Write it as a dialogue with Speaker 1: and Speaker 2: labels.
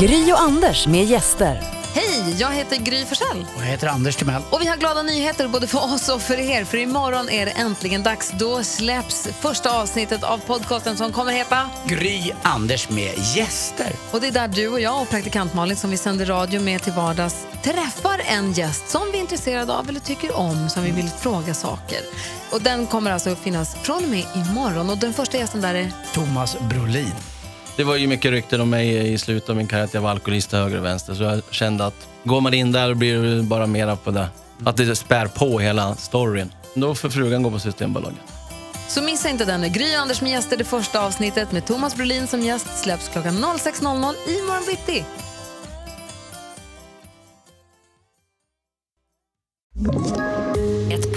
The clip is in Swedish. Speaker 1: Gry och Anders med gäster.
Speaker 2: Hej, jag heter Gry Forssell.
Speaker 3: Och jag heter Anders Timell.
Speaker 2: Och vi har glada nyheter både för oss och för er. För imorgon är det äntligen dags. Då släpps första avsnittet av podcasten som kommer heta...
Speaker 3: Gry Anders med gäster.
Speaker 2: Och det är där du och jag och praktikant Malin som vi sänder radio med till vardags träffar en gäst som vi är intresserade av eller tycker om, som vi vill fråga saker. Och den kommer alltså att finnas från och med imorgon. Och den första gästen där är...
Speaker 3: Thomas Brolin.
Speaker 4: Det var ju mycket rykten om mig i slutet av min karriär att jag var alkoholist till höger och vänster. Så jag kände att går man in där blir det bara mera på det. Att det spär på hela storyn. Då får frugan gå på Systembolaget.
Speaker 2: Så missa inte den. Gry och Anders med gäster, det första avsnittet med Thomas Brolin som gäst släpps klockan 06.00 imorgon bitti.
Speaker 1: Ett